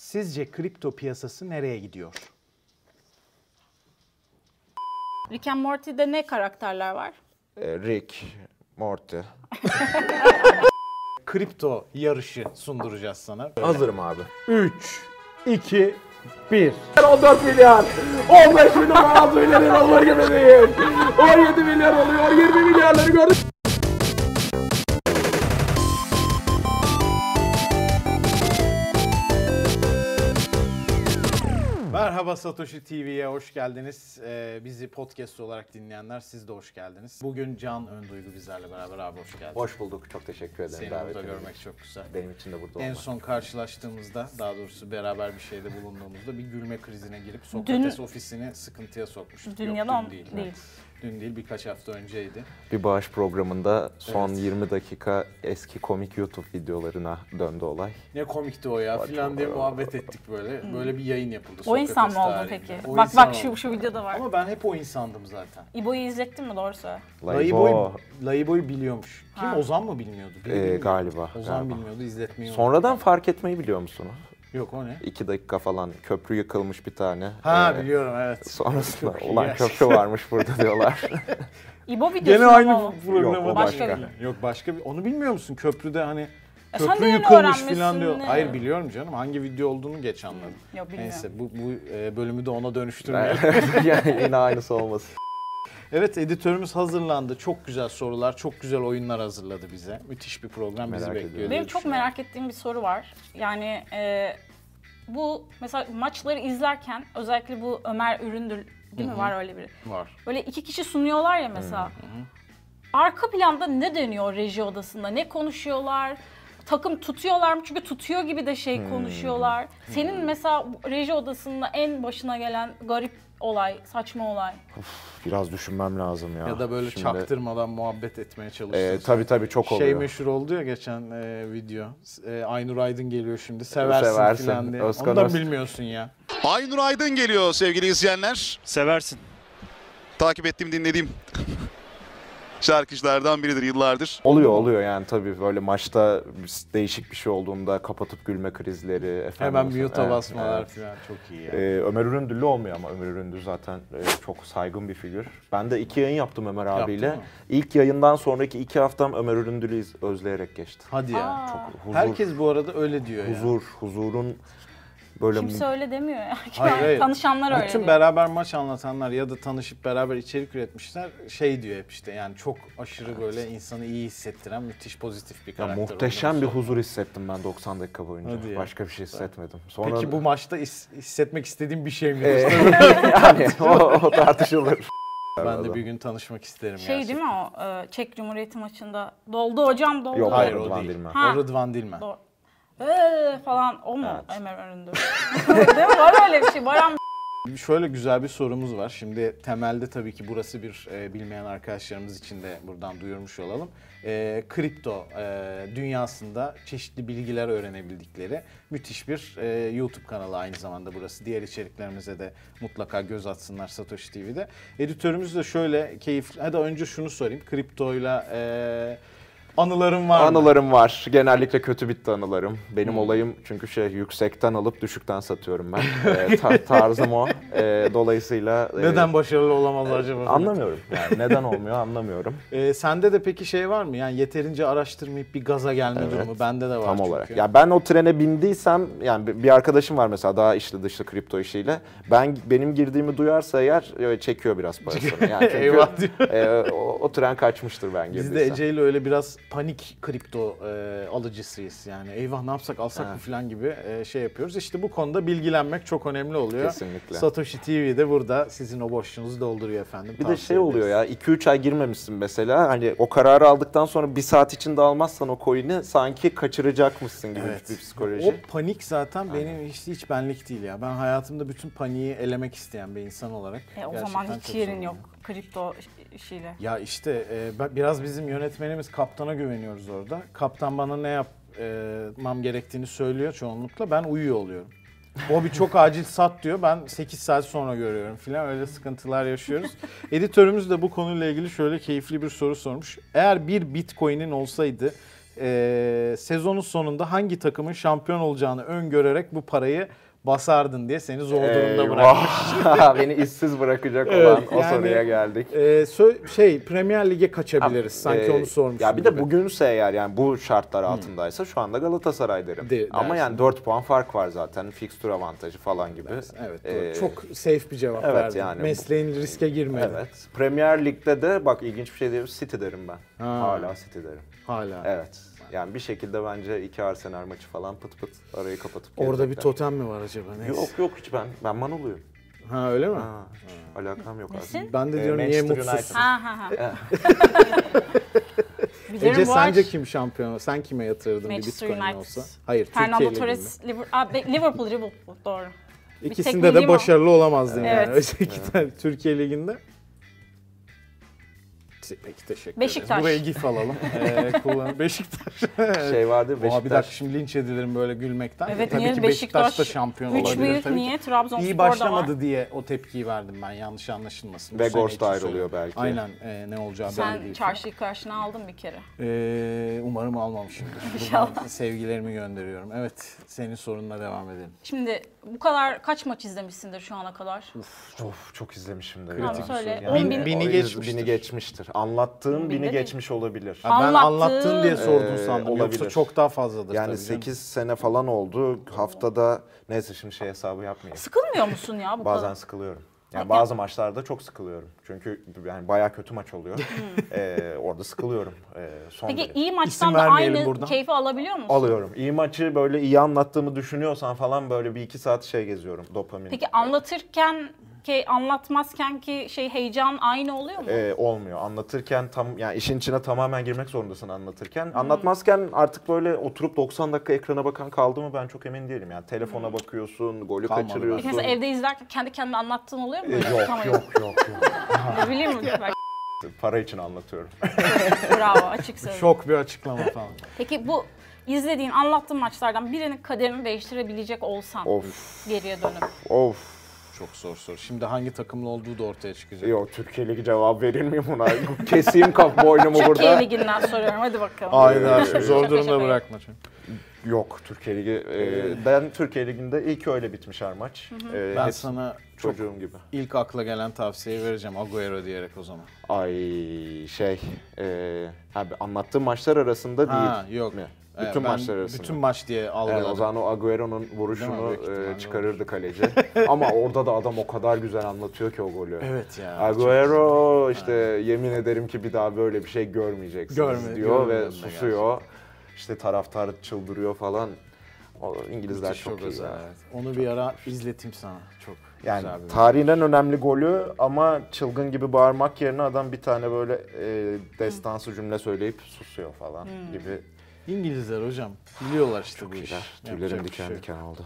Sizce kripto piyasası nereye gidiyor? Rick and Morty'de ne karakterler var? Ee, Rick, Morty. Kripto yarışı sunduracağız sana. Hazırım abi. 3, 2, 1. 14 milyar. 15 milyon 16 milyar olur gibi değil. 17 milyar oluyor. 20 milyarları gördüm. Merhaba Satoshi TV'ye hoş geldiniz. Ee, bizi podcast olarak dinleyenler siz de hoş geldiniz. Bugün Can Önduygu bizlerle beraber abi hoş geldin. Hoş bulduk. Çok teşekkür ederim Seni burada davetiniz için. görmek çok güzel. Benim için de burada En olmak. son karşılaştığımızda, daha doğrusu beraber bir şeyde bulunduğumuzda bir gülme krizine girip Dün- Sokrates ofisini sıkıntıya sokmuştuk. Dün Yok, ya da değil. değil. Dün değil, birkaç hafta önceydi. Bir bağış programında son 20 dakika eski komik YouTube videolarına döndü olay. Ne komikti o ya filan diye muhabbet ettik böyle. Böyle bir yayın yapıldı. Hmm. O insan Sokrates mı oldun tarihinde. peki? O bak insan bak şu, oldum. şu videoda var. Ama ben hep o insandım zaten. İbo'yu izlettin mi doğru söyle. Layıboy, Layıboy biliyormuş. Kim Ha. Ozan mı bilmiyordu? Biri Ee, bilmiyordu. galiba, Ozan galiba. bilmiyordu izletmiyor. Sonradan fark etmeyi biliyor musun? Yok o ne? 2 dakika falan köprü yıkılmış bir tane. Ha Ee, biliyorum evet. Sonrasında Çok iyi olan ya. köprü varmış burada diyorlar. İbo videosu Gene mu aynı oğlum? programı. Yok, o başka. Yok başka bir. Onu bilmiyor musun? Köprüde hani E, sen de köprü yeni yıkılmış öğrenmişsin falan diyor. ne? Hayır biliyorum canım. Hangi video olduğunu geç anladım. Yok bilmiyorum. Neyse bu, bu e, bölümü de ona dönüştürmeyelim. yani yine aynısı olmasın. Evet editörümüz hazırlandı. Çok güzel sorular, çok güzel oyunlar hazırladı bize. Müthiş bir program bizi Merak bekliyor. diye ediyorum. Benim çok düşünüyorum. merak ettiğim bir soru var. Yani e, bu mesela maçları izlerken özellikle bu Ömer Üründür değil mi var öyle biri. var. Böyle iki kişi sunuyorlar ya mesela. Arka planda ne dönüyor reji odasında? Ne konuşuyorlar? Takım tutuyorlar mı? Çünkü tutuyor gibi de şey konuşuyorlar. Senin mesela reji odasında en başına gelen garip olay, saçma olay. Biraz düşünmem lazım ya. Ya da böyle Ah, Şimdi, çaktırmadan muhabbet etmeye çalışıyorsun. E, tabii tabii çok oluyor. Şey meşhur oldu ya geçen e, video. E, Aynur Aydın geliyor şimdi. Seversin, E, Seversin. falan diye. Özkan Onu da Öz- bilmiyorsun ya. Aynur Aydın geliyor sevgili izleyenler. Seversin. Takip ettiğim, dinlediğim şarkıcılardan biridir yıllardır. Oluyor oluyor yani tabii böyle maçta değişik bir şey olduğunda kapatıp gülme krizleri. efendim- Hemen mute'a Evet, basmalar evet. falan çok iyi ya. Ee, Ömer Üründüllü olmuyor ama Ömer Üründü zaten e, çok saygın bir figür. Ben de iki yayın yaptım Ömer abiyle. mı? İlk yayından sonraki iki haftam Ömer Üründül'ü iz- özleyerek geçti. Hadi ya. Aa, Huzur, Herkes bu arada öyle diyor ya. huzur, huzurun böyle Kimse öyle demiyor. ya. Hayır, hayır. Tanışanlar öyle Bütün diyor. beraber maç anlatanlar ya da tanışıp beraber içerik üretmişler şey diyor hep işte yani çok aşırı böyle insanı iyi hissettiren müthiş pozitif bir Ya karakter. muhteşem olduğunu bir söylüyor. huzur hissettim ben 90 dakika boyunca. Hadi ya. Başka bir şey hissetmedim. Sonra Peki bu maçta his- hissetmek istediğim bir şey mi? Ee, İşte yani o, o tartışılır. ben de Arada. bir gün tanışmak isterim Şey değil mi o e, Çek Cumhuriyeti maçında doldu hocam doldu. Yok Hayır, hayır, o o değil. Dilmen. Ha. O Rıdvan Dilmen. Doğru. Ee, falan o mu Ömer Önündür? değil mi? Var öyle bir şey. Baran Şöyle güzel bir sorumuz var. Şimdi temelde tabii ki burası bir e, bilmeyen arkadaşlarımız için de buradan duyurmuş olalım. E, kripto e, dünyasında çeşitli bilgiler öğrenebildikleri müthiş bir e, YouTube kanalı aynı zamanda burası. Diğer içeriklerimize de mutlaka göz atsınlar Satoshi TV'de. Editörümüz de şöyle keyifli. Hadi önce şunu sorayım. Kriptoyla e, anılarım var mı? Anılarım var. Genellikle kötü bitti anılarım. Hmm. Benim olayım çünkü şey yüksekten alıp düşükten satıyorum ben. Ee, ta- tarzım o. Ee, dolayısıyla e, Neden başarılı olamaz acaba? anlamıyorum. Yani neden olmuyor anlamıyorum. Ee, sende de peki şey var mı? Yani yeterince araştırmayıp bir gaza gelme durumu bende de var Tam çünkü. olarak. Ya ben o trene bindiysem yani bir- bir arkadaşım var mesela daha işli dışlı kripto işiyle. Ben benim girdiğimi duyarsa eğer e, çekiyor biraz parasını. Yani çünkü, Eyvah diyor. e, o, o tren kaçmıştır ben Biz girdiysem. de Ece ile öyle biraz panik kripto e, alıcısıyız yani. Eyvah ne yapsak alsak mı falan gibi e, şey yapıyoruz. İşte bu konuda bilgilenmek çok önemli oluyor. Kesinlikle. Satoshi TV de burada sizin o boşluğunuzu dolduruyor efendim. Bir de Tavsiye şey oluyor ederiz. ya 2-3 ay girmemişsin mesela hani o kararı aldıktan sonra bir saat içinde almazsan o coin'i sanki kaçıracakmışsın gibi Evet. bir psikoloji. O panik zaten benim hiç, hiç benlik değil ya. Ben hayatımda bütün paniği elemek isteyen bir insan olarak. E, o gerçekten zaman hiç çok yerin zorlanıyorum. yok kripto iş- işiyle. Ya işte e, ben- biraz bizim yönetmenimiz kaptana güveniyoruz orada. Kaptan bana ne yapmam gerektiğini söylüyor çoğunlukla. Ben uyuyor oluyorum. O bir çok acil sat diyor. Ben 8 saat sonra görüyorum filan öyle sıkıntılar yaşıyoruz. Editörümüz de bu konuyla ilgili şöyle keyifli bir soru sormuş. Eğer bir bitcoin'in olsaydı e, e, sezonun sonunda hangi takımın şampiyon olacağını öngörerek bu parayı basardın diye seni zor durumda bırakmış. Eyvah! Ee, Beni işsiz bırakacak olan o yani- soruya geldik. E, sö- şey Premier Lig'e kaçabiliriz sanki Ee, onu sormuşsun Ya bir de gibi. Hmm. bugünse eğer yani bu şartlar altındaysa şu anda Galatasaray derim. De- Ama dersin. yani 4 puan fark var zaten. Fixture avantajı falan gibi. Evet doğru. Ee, çok safe bir cevap evet verdin. yani bu- Mesleğin riske girmedi Evet. Premier Lig'de de bak ilginç bir şey diyebilirim. City derim ben. Ha. Hala City derim. hala. Evet. Yani bir şekilde bence iki Arsenal maçı falan pıt pıt arayı kapatıp Orada bir gelecekler. totem mi var acaba? Neyse. Yok yok hiç ben. Ben Manoluyum. Ha öyle mi? Ha, hiç alakam yok aslında. Nesin? Ben de Ee, diyorum niye Manchester mutsuzsun? United. Ha ha ha. Bilirim Ece bu aç. sence kim şampiyon? Sen kime yatırdın bir Manchester bitcoin United. olsa? Hayır, Fernando Türkiye'yle ilgili. Torres, Liver- Aa, be- Liverpool, Liverpool doğru. tek İkisinde de bildiğim o. başarılı olamazdın Evet. yani. Öyle iki tane Türkiye Ligi'nde. Peki teşekkür ederiz. Beşiktaş. Buraya gif alalım. Ee, kullan- Beşiktaş. Şey vardı Oha bir dakika Beşiktaş. şimdi linç edilirim böyle gülmekten. Evet Tabii niye ki Beşiktaş, Beşiktaş, da şampiyon üç olabilir büyük tabii ki. niye Trabzonspor İyi da var. başlamadı diye o tepkiyi verdim ben yanlış anlaşılmasın. Bu Ve sene Ghost için ayrılıyor söylüyorum. belki. Aynen e, ne olacağı belli Sen değil. çarşıyı karşına aldın bir kere. Ee, umarım almamışımdır. İnşallah. Buradan sevgilerimi gönderiyorum. Evet senin sorunla devam edelim. Şimdi bu kadar kaç maç izlemişsindir şu ana kadar? Of çok izlemişim de. Tamam, ya. söyle. Yani On bin- o bini yüz- geçmiştir. Bini geçmiştir. Anlattığım Binde bini değil. geçmiş olabilir. Ha, ben Anlattığın- anlattın diye sordun Ee, sandım. Yoksa olabilir. çok daha fazladır Yani tabii 8 sene falan oldu. Haftada neyse şimdi şey hesabı yapmayayım. Sıkılmıyor musun ya bu Bazen kadar? sıkılıyorum. Yani bazı maçlarda çok sıkılıyorum. Çünkü yani bayağı kötü maç oluyor. Ee, orada sıkılıyorum. Ee, son Peki derece. iyi maçtan İsim da vermeyelim aynı buradan. keyfi alabiliyor musun? Alıyorum. İyi maçı böyle iyi anlattığımı düşünüyorsan falan böyle bir iki saat şey geziyorum dopamin. Peki anlatırken ki anlatmazken ki şey heyecan aynı oluyor mu? Ee, olmuyor. Anlatırken tam yani işin içine tamamen girmek zorundasın anlatırken. Hmm. Anlatmazken artık böyle oturup 90 dakika ekrana bakan kaldı mı ben çok emin değilim. Yani telefona bakıyorsun, golü Kalmadı. Hmm. Peki kaçırıyorsun. mesela E, evde izlerken kendi kendine anlattığın oluyor mu? Ee, Böyle yok, tutamayıp? yok yok yok. Ne bileyim mi? Bak, Para için anlatıyorum. Bravo açık söyle. Şok bir açıklama falan. Peki bu izlediğin anlattığın maçlardan birinin kaderini değiştirebilecek olsan of geriye dönüp. of. Çok zor soru. Şimdi hangi takımlı olduğu da ortaya çıkacak. Yok Türkiye Ligi cevap verir miyim buna? Keseyim kap boynumu Türkiye burada. Ligi'nden soruyorum hadi bakalım. Ee, Hayda şimdi zor Şaka durumda şaka. bırakma. çünkü. Yok Türkiye Ligi. e, ben Türkiye Ligi'nde ilk öyle bitmiş her maç. E, Ben hep sana çok çocuğum gibi. ilk akla gelen tavsiyeyi vereceğim Agüero diyerek o zaman. Ay şey, e, abi anlattığım maçlar arasında Ha değil. yok. mi? Ee, Bütün ben maçlar arasında. Bütün maç diye Yani algıladım. o zaman o Agüero'nun vuruşunu Büyük ihtimalle e, çıkarırdı kaleci. Ama orada da adam o kadar güzel anlatıyor ki o golü. Evet ya. Agüero işte yemin ederim ki bir daha böyle bir şey görmeyeceksiniz Görme- diyor görmedim de ve susuyor. İşte taraftar çıldırıyor falan. O İngilizler Müthiş, çok, iyi. özel, ya. evet. Onu bir ara izleteyim sana. Çok Yani güzel bir- tarihinden önemli golü ama çılgın gibi bağırmak yerine adam bir tane böyle e, destansı cümle söyleyip susuyor falan gibi. İngilizler hocam biliyorlar işte bu işi. şeyler. Yapacak Tüylerim bir diken şey yok. diken oldu.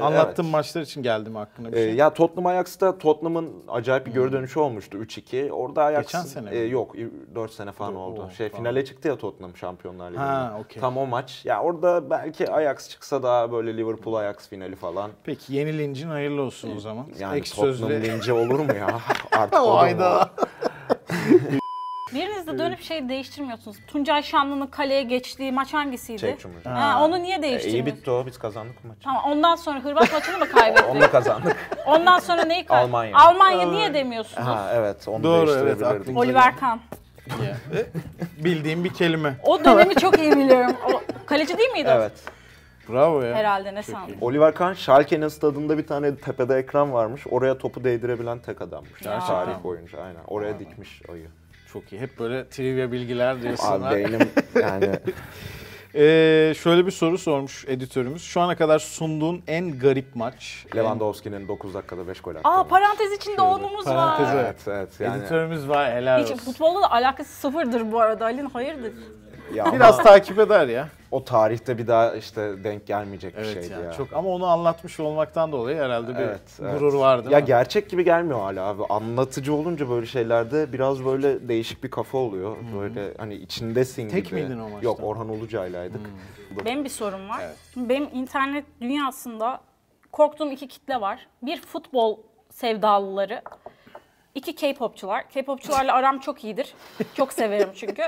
Anlattığım maçlar için geldim aklına bir Ee, şey. E, ya Tottenham Ajax'ta Tottenham'ın acayip bir geri dönüşü olmuştu 3-2. Orada Ajax Hmm. Geçen sene mi? Ee, yok 4 sene falan Dur, oldu. oo, şey tamam. finale çıktı ya Tottenham Şampiyonlar Ligi'nde. Ha, okey. Tam o maç. Ya orada belki Ajax çıksa daha böyle Liverpool Ajax finali falan. Peki yeni lincin hayırlı olsun o zaman. Yani Ek Tottenham sözlü. linci olur mu ya? Artık olur mu? Hayda. Biriniz Ee. de dönüp şey değiştirmiyorsunuz. Tuncay Şanlı'nın kaleye geçtiği maç hangisiydi? Çek şunu. Ha, onu niye E, iyi değiştirmiyorsunuz? bitti o. Biz kazandık bu maçı. Tamam ondan sonra Hırvat maçını mı kaybettik? Onu da kazandık. Ondan sonra neyi kaybettik? Almanya. Almanya niye demiyorsunuz? ha evet onu Doğru, evet, değiştirebilirdik. aklım- Oliver Kahn. Ya. Bildiğim bir kelime. O dönemi çok iyi biliyorum. O, kaleci değil miydi? o? Evet. Bravo ya. Herhalde ne sandın? Oliver Kahn Schalke'nin stadında bir tane tepede ekran varmış. Oraya topu değdirebilen tek adammış. Ya. Tarih boyunca aynen. Oraya dikmiş ayı. Çok iyi. Hep böyle trivia bilgiler diyorsun. ha. Abi beynim yani Ee, şöyle bir soru sormuş editörümüz. Şu ana kadar sunduğun en garip maç. Lewandowski'nin 9 dakikada 5 gol attı. Aa parantez içinde onumuz Parantez var. var. Evet evet yani. Editörümüz var helal Hiç olsun. futbolla da alakası sıfırdır bu arada Ali'nin hayırdır. Ya Biraz Biraz takip eder ya. o tarihte bir daha işte denk gelmeyecek bir Evet şeydi ya. ya. Çok ama onu anlatmış olmaktan dolayı herhalde bir Evet, evet. gurur vardı. ya gerçek gibi gelmiyor hala abi. Anlatıcı olunca böyle şeylerde biraz böyle değişik bir kafa oluyor. Böyle hani içindesin Tek gibi. miydin o maçta? Yok Orhan Uluca'ylaydık. Benim bir sorum var. Şimdi benim internet dünyasında korktuğum iki kitle var. Bir futbol sevdalıları, iki K-popçular. K-popçularla aram çok iyidir. Çok severim çünkü.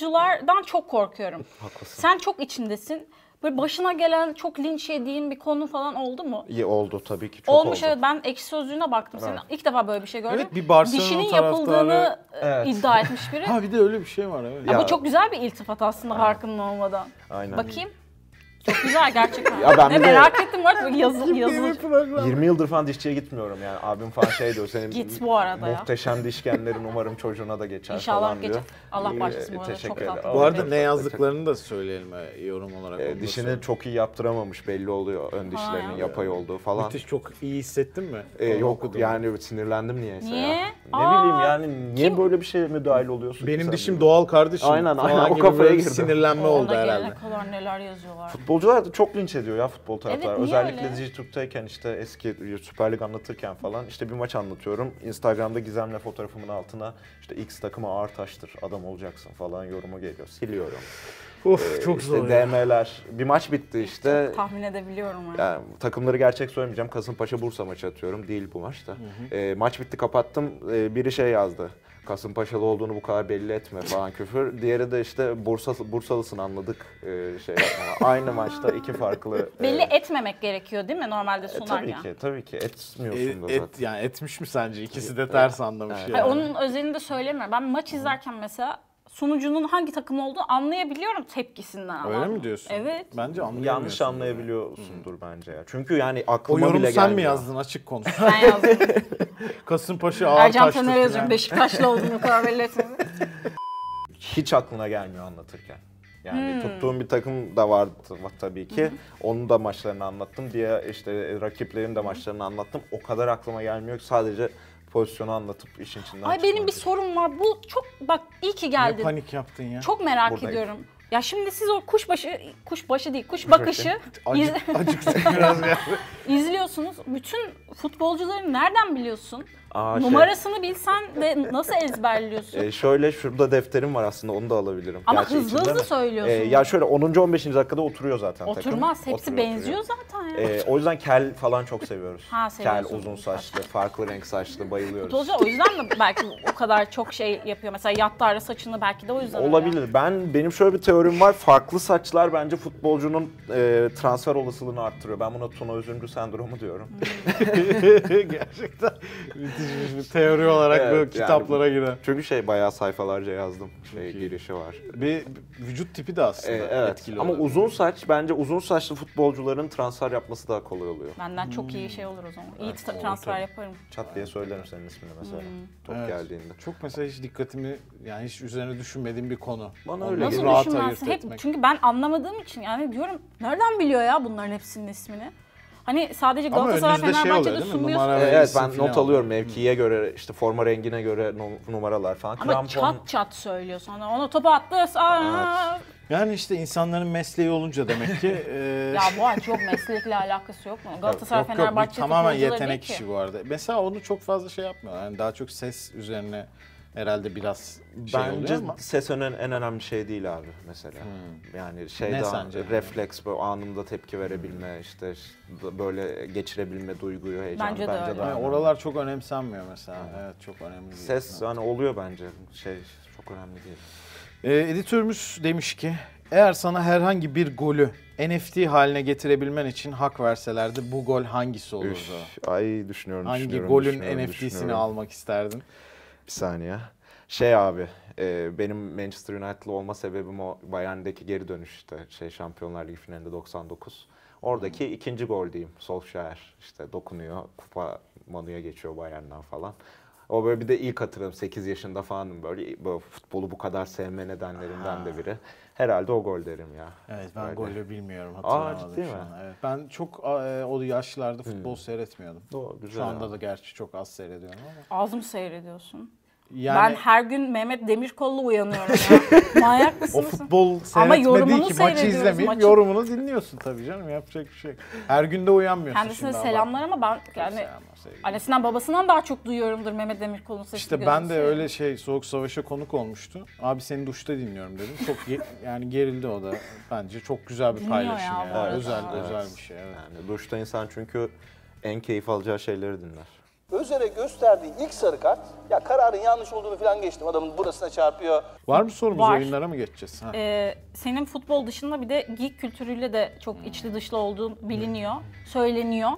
futbolculardan çok korkuyorum. Haklısın. Sen çok içindesin. Böyle başına gelen çok linç yediğin bir konu falan oldu mu? İyi oldu tabii ki çok Olmuş oldu. evet ben ekşi sözlüğüne baktım Evet. senin. İlk defa böyle bir şey gördüm. Evet, bir Barcelona Dişinin taraftarı- yapıldığını e, Evet. iddia etmiş biri. Ha bir de öyle bir şey var evet. Ya- Bu çok güzel bir iltifat aslında farkında olmadan. Aynen. Bakayım. Çok güzel gerçekten. Ya ben Ne bir de- merak ettim bu arada yazı, yazı. 20 yıldır falan dişçiye gitmiyorum yani. Abim falan şey diyor senin Git bu arada ya. muhteşem dişkenlerin umarım çocuğuna da geçer İnşallah falan diyor. geçer. Allah İyi, başlasın bu arada. teşekkür Çok ederim. tatlı. Bu arada Evet. ne yazdıklarını da söyleyelim e, yorum olarak. Ee, onu da dişini söyle. çok iyi yaptıramamış belli oluyor ön dişlerinin ya. yapay olduğu falan. Müthiş çok iyi hissettin mi? Ee, Onu yok okudun mu? yani sinirlendim niyeyse Niye? ya. Ne Aa, bileyim yani niye böyle bir şeye müdahil oluyorsun? ki Benim sen dişim diyor. doğal kardeşim. Aynen, falan aynen, o gibi kafaya böyle girdim. Sinirlenme oldu Ona herhalde. gelene kadar neler yazıyorlar. Futbolcular da çok linç ediyor ya futbol taraftarı. Evet, niye Özellikle öyle? Dijitürk'teyken işte eski Süper Lig anlatırken falan işte bir maç anlatıyorum. Instagram'da Gizem'le fotoğrafımın altına işte X takıma ağır taştır adam olacaksın falan yorumu geliyor. Siliyorum. E, Of çok İşte zor. ya. DM'ler. Bir maç bitti işte. Tahmin edebiliyorum. yani. Yani takımları gerçek söylemeyeceğim. Kasımpaşa Bursa maçı atıyorum. Değil bu maçta. maç bitti kapattım. Ee, biri şey yazdı. Kasımpaşalı olduğunu bu kadar belli etme falan küfür. Diğeri de işte Bursa Bursalısın anladık ee, şey. yapma. Aynı maçta iki farklı. e, Belli etmemek gerekiyor değil mi normalde e, sunar tabii ya. ki tabii ki etmiyorsun da E, zaten. et, yani etmiş mi sence? İkisi de ters anlamış Evet. yani. Hayır, E, onun özelini de söylemiyorum. Ben maç izlerken mesela sunucunun hangi takım olduğunu anlayabiliyorum tepkisinden. ama. Öyle mi diyorsun? Evet. Bence anlayamıyorsun. Yanlış anlayabiliyorsundur bence ya. Çünkü yani O aklıma yorumu bile sen gelmiyor. mi yazdın açık konuş. Ben yazdım. Kasımpaşa ağır Ercan taştı Taner'e falan. yazıyorum. Beşiktaşlı olduğunu bu kadar belli etmedim. hiç aklına gelmiyor anlatırken. Yani Hmm. tuttuğum bir takım da vardı tabii ki. Onun da maçlarını anlattım diye işte e, rakiplerin de maçlarını anlattım. O kadar aklıma gelmiyor ki sadece pozisyonu anlatıp işin içinden Ay benim bir çıkmak. sorum var. Bu çok bak iyi ki Ne geldin. panik yaptın ya. Çok merak hani Buradayım. ediyorum. Ya şimdi siz o kuşbaşı, kuşbaşı değil, kuş bakışı iz- Acık, acıktım biraz ya. izliyorsunuz. Bütün futbolcuları nereden biliyorsun? Aa, şey, Numarasını bilsen de nasıl ezberliyorsun? e, şöyle şurada defterim var aslında onu da alabilirim. Ama Gerçi hızlı içinde hızlı de- söylüyorsun. E, ya şöyle 10. 15. dakikada oturuyor zaten takım. Oturmaz. Hepsi Oturuyor, benziyor oturuyor. zaten ya. E, o yüzden kel falan çok seviyoruz. Ha, kel, seviyorsun. uzun saçlı, farklı renk saçlı bayılıyoruz. Futbolcu o yüzden mi belki o kadar çok şey yapıyor? Mesela yattı ara saçını belki de o yüzden. öyle. Olabilir. Ben benim şöyle bir teorim var. Farklı saçlar bence futbolcunun e, transfer olasılığını arttırıyor. Ben buna Tuna Özümcü sendromu diyorum. Gerçekten müthiş bir şey. teori olarak Evet, böyle yani- kitaplara giren. Çünkü şey bayağı sayfalarca yazdım. Şey girişi var. Bir vücut tipi de aslında E, evet. etkili Ama oluyor. uzun saç bence uzun saçlı futbolcuların transfer yapması daha kolay oluyor. Benden çok iyi şey olur o zaman. İyi tra- transfer yaparım. Çat diye söylerim senin ismini Hmm. mesela. Top Evet. geldiğinde. Çok mesela hiç dikkatimi yani hiç üzerine düşünmediğim bir konu. Bana Onu öyle rahat Nasıl geliyor. düşünmezsin? ayırt Hep, etmek. çünkü ben anlamadığım için yani diyorum nereden biliyor ya bunların hepsinin ismini? Hani sadece Ama Galatasaray önünüzde şey Fenerbahçe'de oluyor değil mi? sunuyorsun. Numara- E, evet isim ben falan not alıyorum mevkiye göre işte forma rengine göre nu- numaralar falan. Ama çat çat söylüyor sonra. Ona topu attı. Aa, Yani işte insanların mesleği olunca demek ki e, Ya bu an çok meslekle alakası yok mu? Galatasaray Yok yok bu Fenerbahçe tamamen futbolcuları değil yetenek ki. işi bu arada. Mesela onu çok fazla şey yapmıyorlar. Yani daha çok ses üzerine herhalde biraz şey Bence oluyor ama. Hmm. ses önen, en önemli şey değil abi mesela. Yani şey Ne daha sence? Hmm. refleks böyle anında tepki verebilme işte ş- böyle geçirebilme duyguyu heyecanı Bence bence, de öyle. daha. Yani önemli. oralar çok önemsenmiyor mesela. Evet çok önemli. değil. ses hani oluyor bence şey çok önemli değil. Ee, editörümüz demiş ki eğer sana herhangi bir golü NFT haline getirebilmen için hak verselerdi bu gol hangisi olurdu? ay düşünüyorum Hangi golün NFT'sini almak isterdin? Bir saniye. Şey abi, e, benim Manchester United'lı olma sebebim o Bayern'deki geri dönüş işte şey Şampiyonlar Ligi finalinde 99. Oradaki ikinci gol diyeyim. Solskjaer işte dokunuyor, kupa Manu'ya geçiyor Bayern'den falan. O böyle bir de ilk hatırladım 8 yaşında falanım böyle, böyle futbolu bu kadar sevme nedenlerimden de biri. Herhalde o gol derim ya. Evet ben Böyle. golü bilmiyorum hatırlamadım ciddi şu mi? Hmm. an. Evet, ben çok e, o yaşlarda futbol seyretmiyordum. Doğru, Şu güzel anda abi. da gerçi çok az seyrediyorum ama. Ağzım seyrediyorsun. Yani Ben her gün Mehmet Demirkol'la uyanıyorum ya. Manyak o mısınız? futbol Ama seyretmediği yorumunu ki maçı seyrediyoruz, izlemeyip maçı- yorumunu dinliyorsun tabii canım yapacak bir şey. yok. Her günde uyanmıyorsun Kendisine şimdi selamlar ama. ama ben yani Selamlar, sevgili. annesinden babasından daha çok duyuyorumdur Mehmet Demirkol'un sesini. İşte ben de öyle şey Soğuk Savaş'a konuk olmuştu. Abi seni duşta dinliyorum dedim. Çok ge- yani gerildi o da. Bence çok güzel bir Dinliyor ya paylaşım bu ya. arada. Özel Evet. özel bir şey evet. Yani duşta insan çünkü en keyif alacağı şeyleri dinler. Özer'e gösterdiği ilk sarı kart, ya kararın yanlış olduğunu falan geçtim. Adamın burasına çarpıyor, Var mı sorumuz? Var. Oyunlara mı geçeceğiz? Ha. Ee, senin futbol dışında bir de geek kültürüyle de çok içli dışlı olduğun biliniyor, söyleniyor.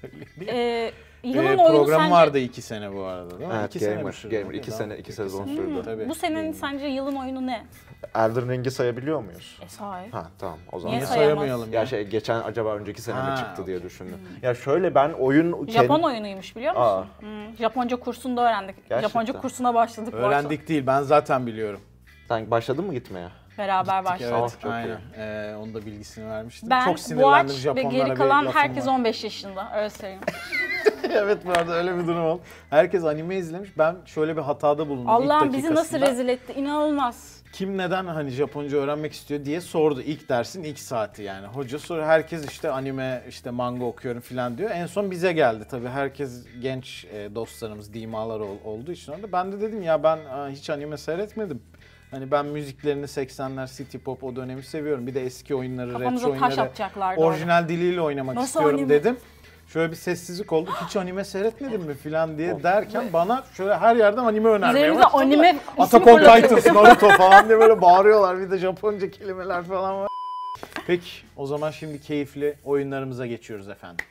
Söyleyeyim. Ee, Ee, yılın oyunu program sence vardı iki sene bu arada değil mi? Evet, İki Gamer, mi sürdü? Gamer. İki Daha- sene- iki sezon sürdü. Tabii. bu senenin sence yılın oyunu ne? Elden Ring'i sayabiliyor muyuz? E, sahip. Ha tamam o zaman. Niye Ya- sayamaz? Sayamayalım ya. Ya şey geçen acaba önceki sene Ha, mi çıktı diye düşündüm. Ya şöyle ben oyun... şey- Japon kend- oyunuymuş biliyor Aa. musun? Hı, Japonca kursunda öğrendik. Gerçekten. Japonca kursuna başladık bu arada. Öğrendik değil ben zaten biliyorum. Sen başladın mı gitmeye? Beraber başladık. Evet çok iyi. aynen. Ee, onun da bilgisini vermiştim. Ben, Çok Boğaç sinirlendim ve Japonlara geri bir kalan lafım herkes var. 15 yaşında. Öyle söyleyeyim. evet bu arada öyle bir durum oldu. Herkes anime izlemiş. Ben şöyle bir hatada bulundum ilk Allah'ım bizi nasıl dakikasında. rezil etti. İnanılmaz. Kim neden hani Japonca öğrenmek istiyor diye sordu ilk dersin ilk saati yani. Hoca soru herkes işte anime işte manga okuyorum falan diyor. En son bize geldi tabii herkes genç e, dostlarımız dimalar ol- olduğu için orada. Ben de dedim ya ben aa, hiç anime seyretmedim. Hani ben müziklerini 80'ler city pop o dönemi seviyorum. Bir de eski oyunları, Kafamıza retro taş oyunları, atacaklardı orada. orijinal diliyle oynamak Nasıl istiyorum anime? dedim. Şöyle bir sessizlik oldu. Hiç anime seyretmedin mi falan diye derken bana şöyle her yerden anime önermeye Üzerimize başladılar. anime ismi Attack on fırlatıyor. Titans, Naruto falan diye böyle bağırıyorlar. Bir de Japonca kelimeler falan var. Peki o zaman şimdi keyifli oyunlarımıza geçiyoruz efendim.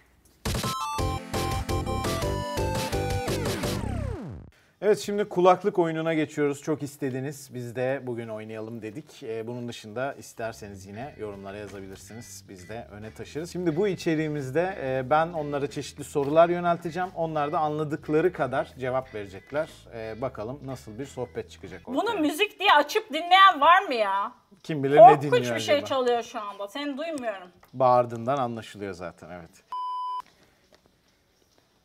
Evet şimdi kulaklık oyununa geçiyoruz. Çok istediniz. Biz de bugün oynayalım dedik. Ee, bunun dışında isterseniz yine yorumlara yazabilirsiniz. Biz de öne taşırız. Şimdi bu içeriğimizde e, ben onlara çeşitli sorular yönelteceğim. Onlar da anladıkları kadar cevap verecekler. Ee, bakalım nasıl bir sohbet çıkacak ortaya. Bunu müzik diye açıp dinleyen var mı ya? Kim bilir ne dinliyor Korkunç bir acaba? şey çalıyor şu anda. Seni duymuyorum. Bağırdığından anlaşılıyor zaten evet.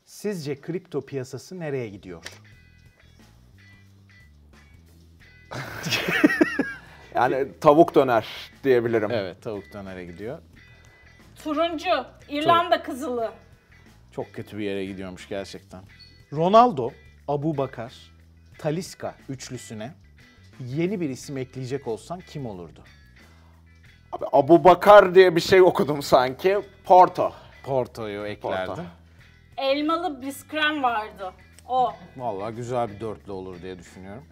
Sizce kripto piyasası nereye gidiyor? Yani tavuk döner diyebilirim. Evet tavuk dönere gidiyor. Turuncu, İrlanda kızılı. Çok kötü bir yere gidiyormuş gerçekten. Ronaldo, Abu Bakar, Taliska üçlüsüne yeni bir isim ekleyecek olsan kim olurdu? Abi Abu Bakar diye bir şey okudum sanki. Porto. Porto'yu eklerdim. Porto. Elmalı biskrem vardı. O. Vallahi güzel bir dörtlü olur diye düşünüyorum.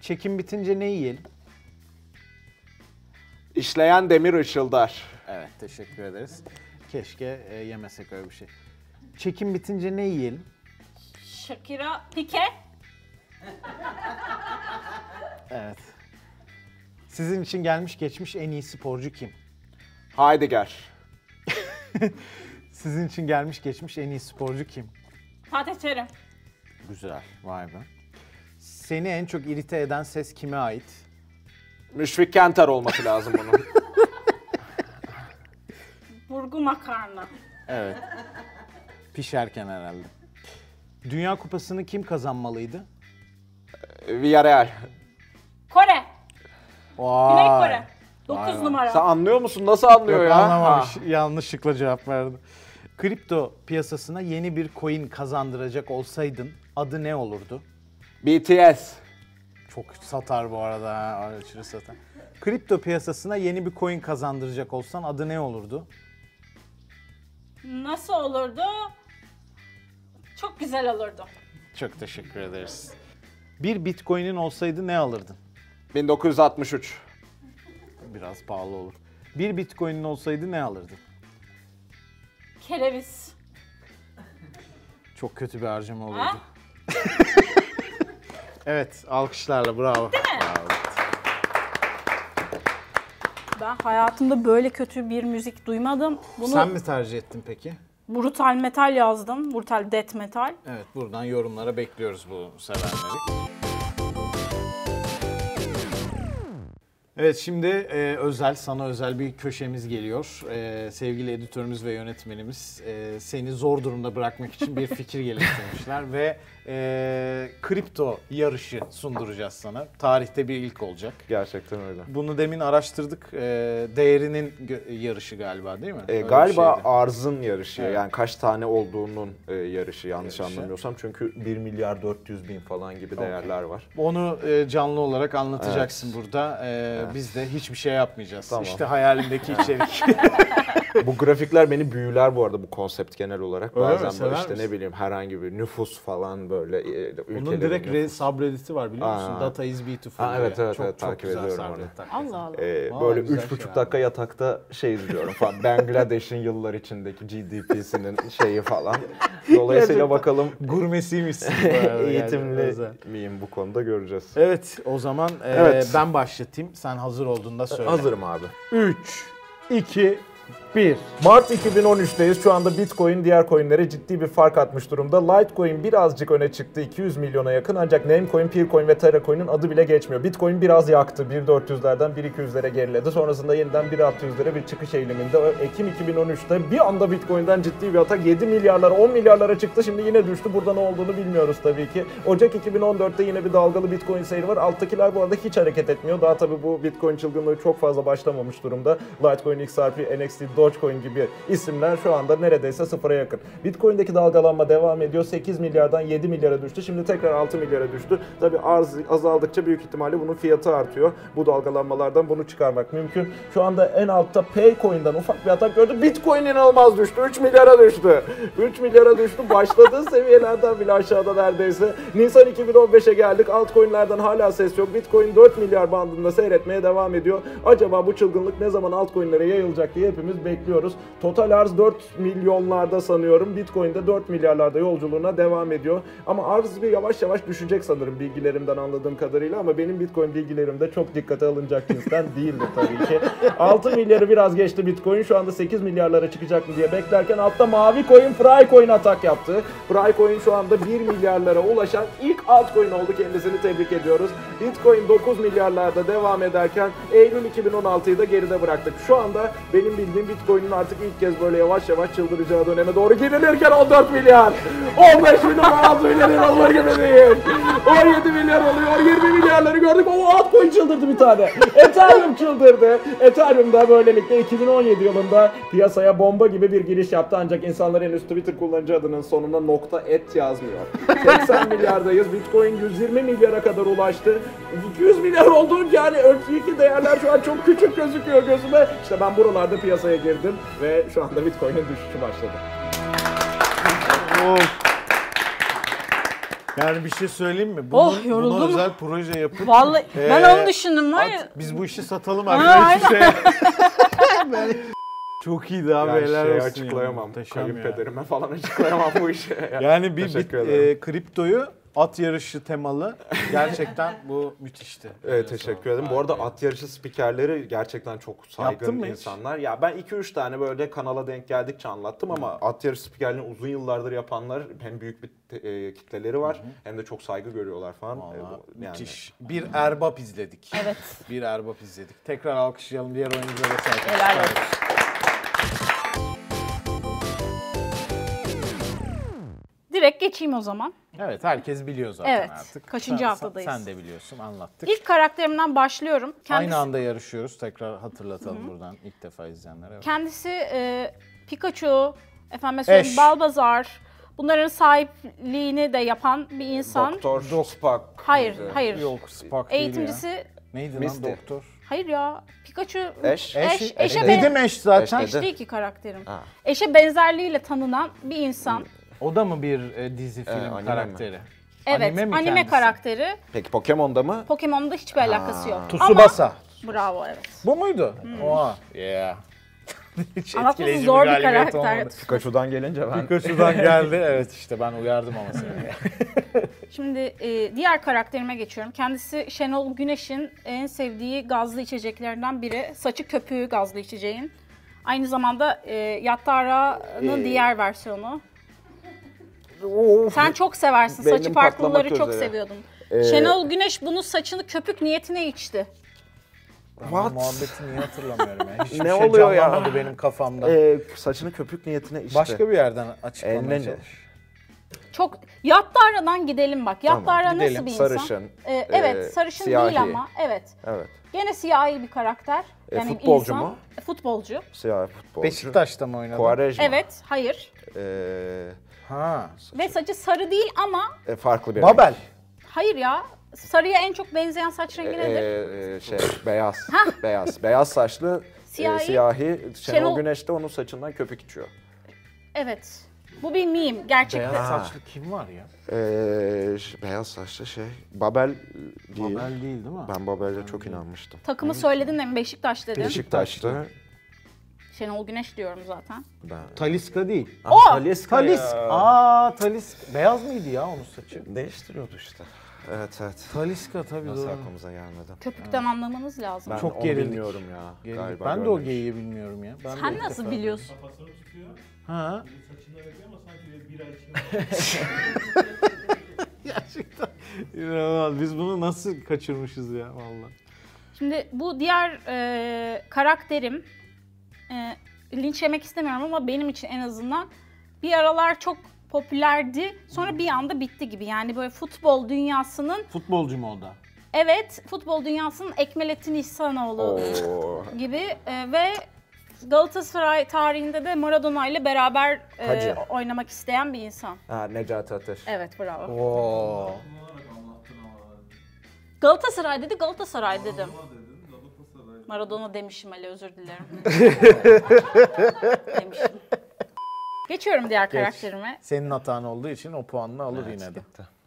Çekim bitince ne yiyelim? İşleyen demir ışıldar. Evet teşekkür ederiz. Keşke e, yemesek öyle bir şey. Çekim bitince ne yiyelim? Shakira, Pike. Evet. Sizin için gelmiş geçmiş en iyi sporcu kim? Heidegger. Sizin için gelmiş geçmiş en iyi sporcu kim? Fatih Terim. Güzel. Vay be. Seni en çok irite eden ses kime ait? Müşfik Kenter olması lazım bunun. Burgu makarna. Evet. Pişerken herhalde. Dünya Kupası'nı kim kazanmalıydı? Villarreal. Kore. Güney Kore. 9 Vay. numara. Sen anlıyor musun? Nasıl anlıyor Yok ya? anlamamış. Ha. Yanlışlıkla cevap verdi. Kripto piyasasına yeni bir coin kazandıracak olsaydın adı ne olurdu? BTS. Çok satar bu arada ha, aşırı satar. Kripto piyasasına yeni bir coin kazandıracak olsan adı ne olurdu? Nasıl olurdu? Çok güzel olurdu. Çok teşekkür ederiz. Bir bitcoin'in olsaydı ne alırdın? 1963. Biraz pahalı olur. Bir bitcoin'in olsaydı ne alırdın? Kereviz. Çok kötü bir harcama olurdu. Ha? Evet, alkışlarla bravo. Ben hayatımda böyle kötü bir müzik duymadım. Bunu Sen mi tercih ettin peki? brutal metal yazdım. Brutal death metal. Evet, buradan yorumlara bekliyoruz bu sevenleri. Evet şimdi e, özel, sana özel bir köşemiz geliyor. E, sevgili editörümüz ve yönetmenimiz e, seni zor durumda bırakmak için bir fikir geliştirmişler ve e, kripto yarışı sunduracağız sana. Tarihte bir ilk olacak. Gerçekten öyle. Bunu demin araştırdık. E, değerinin gö- yarışı galiba değil mi? E, Öyle bir galiba şeydi. arzın yarışı Evet. yani kaç tane olduğunun e, yarışı yanlış Yarışı. anlamıyorsam çünkü 1 milyar 400 bin falan gibi değerler var. Onu e, canlı olarak anlatacaksın burada. E, Biz de hiçbir şey yapmayacağız. Tamam. İşte hayalindeki içerik. bu grafikler beni büyüler bu arada bu konsept genel olarak. Öyle mi? Bazen böyle Sever işte ne misin? bileyim herhangi bir nüfus falan böyle e, ülkelerin Onun direkt nüfus- re- subreddit'i var biliyor musun? Aa. Data is beautiful Ha, diye. evet, evet, çok, evet, çok takip güzel ediyorum subreddit onu. hakikaten. Allah Allah. Ee, Vallahi böyle güzel üç buçuk şeyler. dakika yatakta şey izliyorum falan. Bangladeş'in yıllar içindeki GDP'sinin şeyi falan. Dolayısıyla Gerçekten. bakalım Gurmesiymişsin. eğitimli miyim bu konuda göreceğiz. Evet o zaman e, Evet. ben başlatayım. Sen hazır olduğunda söyle. Hazırım abi. 3, 2, 1. Mart 2013'teyiz. Şu anda Bitcoin diğer coinlere ciddi bir fark atmış durumda. Litecoin birazcık öne çıktı. 200 milyona yakın ancak Namecoin, Peercoin ve Terracoin'in adı bile geçmiyor. Bitcoin biraz yaktı. 1.400'lerden 1.200'lere geriledi. Sonrasında yeniden 1.600'lere bir çıkış eğiliminde. Ekim 2013'te bir anda Bitcoin'den ciddi bir atak. 7 milyarlar, 10 milyarlara çıktı. Şimdi yine düştü. Burada ne olduğunu bilmiyoruz tabii ki. Ocak 2014'te yine bir dalgalı Bitcoin seyri var. Alttakiler bu arada hiç hareket etmiyor. Daha tabii bu Bitcoin çılgınlığı çok fazla başlamamış durumda. Litecoin, XRP, NXT, Dogecoin gibi isimler şu anda neredeyse sıfıra yakın. Bitcoin'deki dalgalanma devam ediyor. 8 milyardan 7 milyara düştü. Şimdi tekrar 6 milyara düştü. Tabii arz azaldıkça büyük ihtimalle bunun fiyatı artıyor. Bu dalgalanmalardan bunu çıkarmak mümkün. Şu anda en altta Paycoin'den ufak bir atak gördü. Bitcoin inanılmaz düştü. 3 milyara düştü. 3 milyara düştü. Başladığı seviyelerden bile aşağıda neredeyse. Nisan 2015'e geldik. Altcoin'lerden hala ses yok. Bitcoin 4 milyar bandında seyretmeye devam ediyor. Acaba bu çılgınlık ne zaman altcoin'lere yayılacak diye hepimiz bekliyoruz. Total arz 4 milyonlarda sanıyorum. Bitcoin'de 4 milyarlarda yolculuğuna devam ediyor. Ama arz bir yavaş yavaş düşecek sanırım bilgilerimden anladığım kadarıyla ama benim Bitcoin bilgilerim de çok dikkate alınacak cinsten değildi tabii ki. 6 milyarı biraz geçti Bitcoin. Şu anda 8 milyarlara çıkacak mı diye beklerken altta mavi coin Frycoin atak yaptı. Frycoin şu anda 1 milyarlara ulaşan ilk altcoin oldu. Kendisini tebrik ediyoruz. Bitcoin 9 milyarlarda devam ederken Eylül 2016'yı da geride bıraktık. Şu anda benim bildiğim Bitcoin'in artık ilk kez böyle yavaş yavaş çıldıracağı döneme doğru girilirken 14 milyar. 15 milyon altı milyar lira olur gibi değil. 17 milyar oluyor, 20 milyarları gördük. O altcoin çıldırdı bir tane. Ethereum çıldırdı. Ethereum da böylelikle 2017 yılında piyasaya bomba gibi bir giriş yaptı. Ancak insanlar henüz Twitter kullanıcı adının sonuna nokta et yazmıyor. 80 milyardayız. Bitcoin 120 milyara kadar ulaştı. 200 milyar oldu yani önceki değerler şu an çok küçük gözüküyor gözüme. İşte ben buralarda piyasaya girdim ve şu anda Bitcoin'in düşüşü başladı. Oh. Yani bir şey söyleyeyim mi? Oh, Bunun- yoruldum. Buna özel proje yapın. Vallahi ben Ee, onu düşündüm var ya. At, biz bu işi satalım Ha, abi. Hiçbir şey. Ben- Çok iyiydi abi Yani helal şey olsun. açıklayamam. Muhteşem ya. Kayınpederime falan açıklayamam bu işi. Yani bir bit, Teşekkür ederim. e, kriptoyu at yarışı temalı gerçekten bu müthişti. Evet Ee, teşekkür ederim. Bu arada at yarışı spikerleri gerçekten çok saygın Yaptın mı hiç? insanlar. Ya ben 2-3 tane böyle kanala denk geldikçe anlattım ama at yarışı spikerlerini uzun yıllardır yapanlar hem büyük bir te- e, kitleleri var hem de çok saygı görüyorlar falan. E, Vallahi bu- yani. müthiş. Bir erbap izledik. Evet. Bir erbap izledik. Tekrar alkışlayalım diğer oyunculara da saygı. Helal olsun. Direkt geçeyim o zaman. Evet herkes biliyor zaten Evet, artık. kaçıncı Sen- haftadayız? Sen, sen de biliyorsun anlattık. İlk karakterimden başlıyorum. Kendisi, Aynı anda yarışıyoruz. Tekrar hatırlatalım buradan ilk defa izleyenlere. Evet. kendisi e, Pikachu, efendim söyleyeyim Ash. Balbazar, bunların sahipliğini de yapan bir insan. Doktor Spock. Hayır, mıydı? hayır. Yok Spock Eğitimcisi değil ya. Neydi Misty. lan doktor? Hayır ya. Pikachu Ash. Ash, Eş, Ash'e ben- Dedim eş zaten. Ash Ash değil ki karakterim. Ha. Eşe benzerliğiyle tanınan bir insan. O da mı bir e, dizi film anime mi? karakteri? Evet, Anime anime, mi kendisi? karakteri. Peki Pokemon'da mı? Pokemon'da hiçbir alakası yok. Tsubasa. Ama, bravo evet. Bu muydu? Oha. Yeah. Hiç Anlatması Hmm. etkileyici zor bir galibiyet karakter. olmadı. Pikachu'dan gelince ben. Pikachu'dan geldi. Evet işte ben uyardım ama seni. Şimdi e, diğer karakterime geçiyorum. Kendisi Şenol Güneş'in en sevdiği gazlı içeceklerinden biri. Saçı köpüğü gazlı içeceğin. Aynı zamanda e, E, Yattara'nın diğer versiyonu. Sen çok seversin. Saçı Beynim farklıları patlamak çok üzere. seviyordun. E, Şenol Güneş bunun saçını köpük niyetine içti. Ben bu muhabbeti niye hatırlamıyorum ya? Hiçbir Ne şey oluyor ya? canlanmadı benim kafamda. Ee, saçını köpük niyetine işte. Başka bir yerden Eline açıklamaya ne? çalış. Çok Yattara'dan gidelim bak. Yattara gidelim. nasıl bir insan? Sarışın, E, e, evet, sarışın siyahi. değil ama. Evet. Evet. Gene siyahi bir karakter. E, Yani bir futbolcu insan. mu? E, futbolcu. Siyah futbolcu. Beşiktaş'ta mı oynadı? Quaresma. Evet, hayır. Ee, Ha. Ve saçı sarı değil ama e, farklı bir Babel. hayır ya. E, Sarıya en çok benzeyen saç rengi nedir? Ee, şey beyaz. beyaz. Beyaz saçlı Siyahi. siyahi Şenol, Şenol- Güneş de onun saçından köpük içiyor. Evet. Bu bir meme gerçekten. Beyaz saçlı kim var ya? Ee, ş- beyaz saçlı şey. Babel değil. Babel değil değil mi? Ben Babel'e çok inanmıştım. Takımı söyledin de mi Beşiktaş dedin? Beşiktaş'tı. Şenol Güneş diyorum zaten. Ben... Taliska değil. O! Taliska Talisk. ya. Aa Talisk. Beyaz mıydı ya onun saçı? Değiştiriyordu işte. Evet evet. Taliska tabii Nasıl doğru. aklımıza gelmedi? Köpükten anlamanız lazım. Ben Çok onu gerildik. bilmiyorum ya. Gerildik. Galiba ben de o görmemiş. geyiği bilmiyorum ya. Ben de Sen ilk nasıl defa- biliyorsun? Ha? Gerçekten inanılmaz. Biz bunu nasıl kaçırmışız ya vallahi. Şimdi bu diğer e, karakterim e, linç yemek istemiyorum ama benim için en azından bir aralar çok popülerdi. Sonra bir anda bitti gibi. Yani böyle futbol dünyasının Futbolcu mu o da? evet futbol dünyasının Ekmelettin İhsanoğlu Oo. gibi e, ve Galatasaray tarihinde de Maradona ile beraber e, Hacı. oynamak isteyen bir insan. Ha, Necati Ateş. Evet bravo. Oo. Galatasaray dedi, Galatasaray dedim. Maradona demişim Ali, özür dilerim. demişim. Geçiyorum diğer karakterime. Senin hatan olduğu için o puanını alır yine de.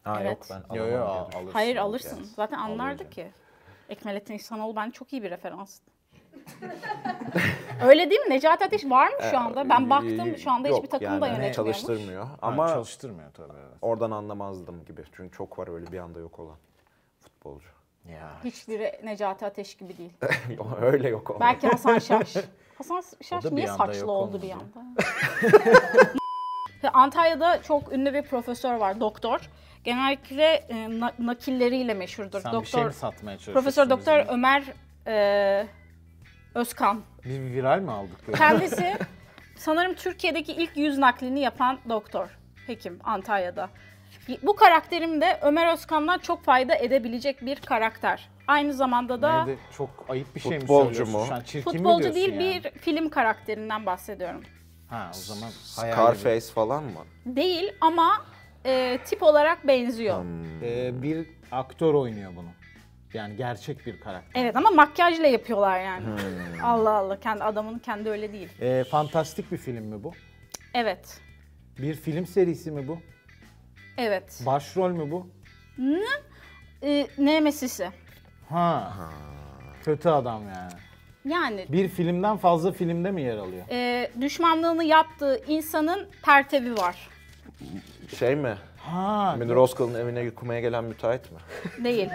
Ha Evet. yok ben Yo alamam yo diye al- düşündüm. alırsın. Hayır alırsın. Zaten anlardı Almayacağım. ki. Ekmelettin İhsanoğlu ben çok iyi bir referans. Öyle değil mi? Necati Ateş var mı şu anda? Ben baktım şu anda hiçbir Ee, e, Yok, takımda yani hani yönetmiyormuş. çalıştırmıyor Ama ama çalıştırmıyor tabii. evet. oradan anlamazdım gibi. Çünkü çok var öyle bir anda yok olan futbolcu. Ya. Hiçbiri Necati Ateş gibi değil. öyle yok olan. Belki Hasan Şaş. Hasan Şaş O da bir niye anda saçlı yok oldu bir olmadı. anda? Ve Antalya'da çok ünlü bir profesör var, doktor. Genellikle e, na- nakilleriyle meşhurdur. Sen bir şey mi doktor satmaya çalışıyorsun? Profesör Doktor bizimle? Ömer e, Özkan. Bir viral mi aldık? böyle? Kendisi sanırım Türkiye'deki ilk yüz naklini yapan doktor, hekim Antalya'da. Bu karakterim de Ömer Özkan'dan çok fayda edebilecek bir karakter. Aynı zamanda da Neydi? Çok ayıp bir şey Futbolcu mi söylüyorsun? mu? Şu an çirkin mi futbolcu diyorsun değil yani? bir film karakterinden bahsediyorum. Ha o zaman hayal edin. Scarface falan mı? Değil ama e, tip olarak benziyor. Ee, bir aktör oynuyor bunu. Yani gerçek bir karakter. Evet ama makyajla yapıyorlar yani. Hmm. Allah Allah kendi adamın kendi öyle değil. Ee, fantastik bir film mi bu? Evet. Bir film serisi mi bu? Evet. Başrol mü bu? E, Nemesis'i. Ha. Kötü adam yani. Yani Bir filmden fazla filmde mi yer alıyor? e, düşmanlığını yaptığı insanın pertevi var. Şey mi? Ha. Münir Özkul'un evine yıkmaya gelen müteahhit mi? Değil.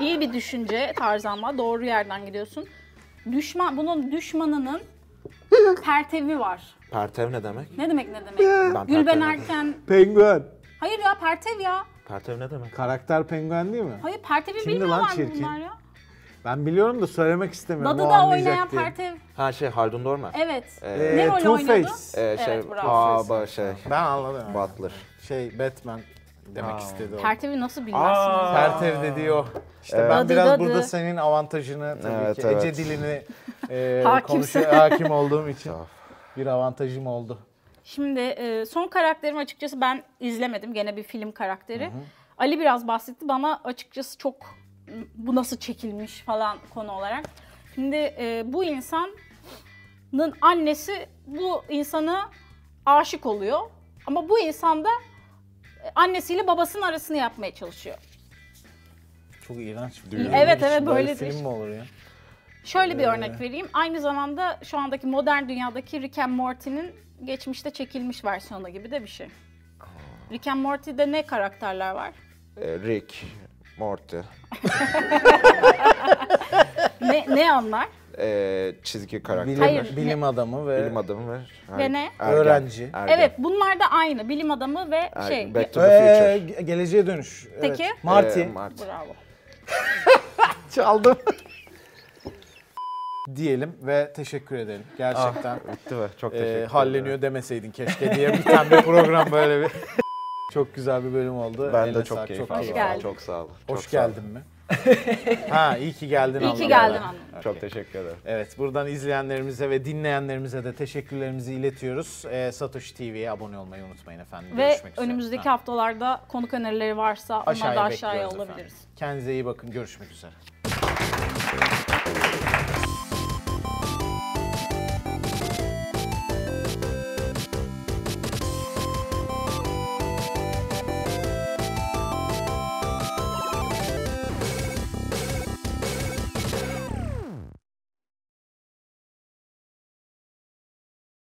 İyi bir düşünce tarzı ama doğru yerden gidiyorsun. Düşman, bunun düşmanının pertevi var. Pertev ne demek? Ne demek ne demek? Ben Gülben Pertev ne Erken. Penguen. Hayır ya pertev ya. Pertev ne demek? Karakter penguen değil mi? Hayır pertevi Kimdi lan bilmiyorlar mı çirkin? bunlar ya? Ben biliyorum da söylemek istemiyorum. o Dadı'da anlayacak oynayan diye. pertev. Ha şey Haldun Dormer. Evet. Ee, ne Ee, rol Two oynadı? Face. Ee, şey, Evet, bravo. aa, ba- şey, Ben anladım. yani. Butler. Şey Batman demek istedi o. Pertevi nasıl bilmezsiniz? ya? Pertev dediği o. İşte ben Dadı biraz dadı. burada senin avantajını tabii Evet, ki evet. Ece dilini e, Hakimsin. konuşuyor, hakim olduğum için bir avantajım oldu. Şimdi e, son karakterim açıkçası ben izlemedim. Gene bir film karakteri. Ali biraz bahsetti. Bana açıkçası çok "M, bu nasıl çekilmiş falan konu olarak. Şimdi e, bu insanın annesi bu insana aşık oluyor. Ama bu insan da e, annesiyle babasının arasını yapmaya çalışıyor. Çok iğrenç bir Evet, Böyle evet, bir- böyle böyle bir- film mi olur ya? Şöyle Ee. bir örnek vereyim. Aynı zamanda şu andaki modern dünyadaki Rick and Morty'nin geçmişte çekilmiş versiyonu gibi de bir şey. Rick and Morty'de ne karakterler var? Ee, Rick, Morty, Ne, ne onlar? ee, çizgi karakter, Bilim, Hayır, bilim adamı ve bilim adamı ve Ve ne? Ergen, Öğrenci. ergen. Evet bunlar da aynı. Bilim adamı ve Ergen. şey. Back to the Ee, Future. ge- geleceğe dönüş. Peki. Evet. Marty. Ee, Marty. Bravo. Çaldım. diyelim ve teşekkür edelim. Gerçekten Bitti mi? Çok e, teşekkür ederim. halleniyor demeseydin keşke diye biten bir program böyle bir. Çok güzel bir bölüm oldu. Ben Eline de çok sağlık, keyif Hoş aldım. keyif geldin. Çok sağ olun. Hoş Çok sağ olun. geldin mi? ha iyi ki geldin İyi ki anlamında. geldin anlamında. Çok teşekkür ederim. Evet buradan izleyenlerimize ve dinleyenlerimize de teşekkürlerimizi iletiyoruz. Ee, Satoshi TV'ye abone olmayı unutmayın efendim. Ve Görüşmek üzere. önümüzdeki Ha, haftalarda konuk önerileri varsa onları da aşağıya bekliyoruz efendim. alabiliriz. Kendinize iyi bakın. Görüşmek üzere.